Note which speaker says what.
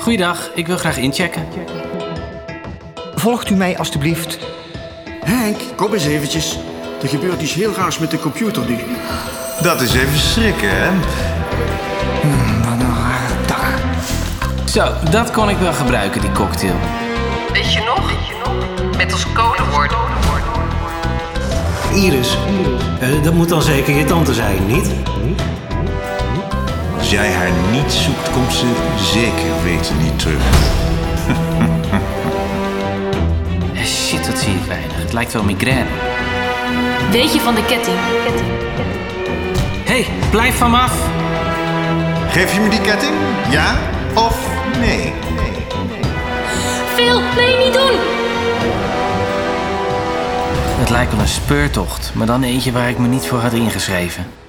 Speaker 1: Goeiedag, ik wil graag inchecken.
Speaker 2: Volgt u mij alstublieft?
Speaker 3: Henk, kom eens eventjes. Er gebeurt iets heel raars met de computer nu.
Speaker 4: Dat is even schrikken, hè?
Speaker 1: Zo, dat kon ik wel gebruiken, die cocktail.
Speaker 5: Weet je nog? Met als codewoord.
Speaker 6: Iris, eh, dat moet dan zeker je tante zijn, niet?
Speaker 4: Als jij haar niet zoekt, komt ze zeker weten niet terug.
Speaker 1: Eh, Shit, dat zie ik weinig. Het lijkt wel migraine.
Speaker 7: Weet je van de ketting?
Speaker 1: Hé, hey, blijf van me af.
Speaker 4: Geef je me die ketting? Ja of nee?
Speaker 7: Phil, nee, niet doen!
Speaker 1: Het lijkt wel een speurtocht, maar dan eentje waar ik me niet voor had ingeschreven.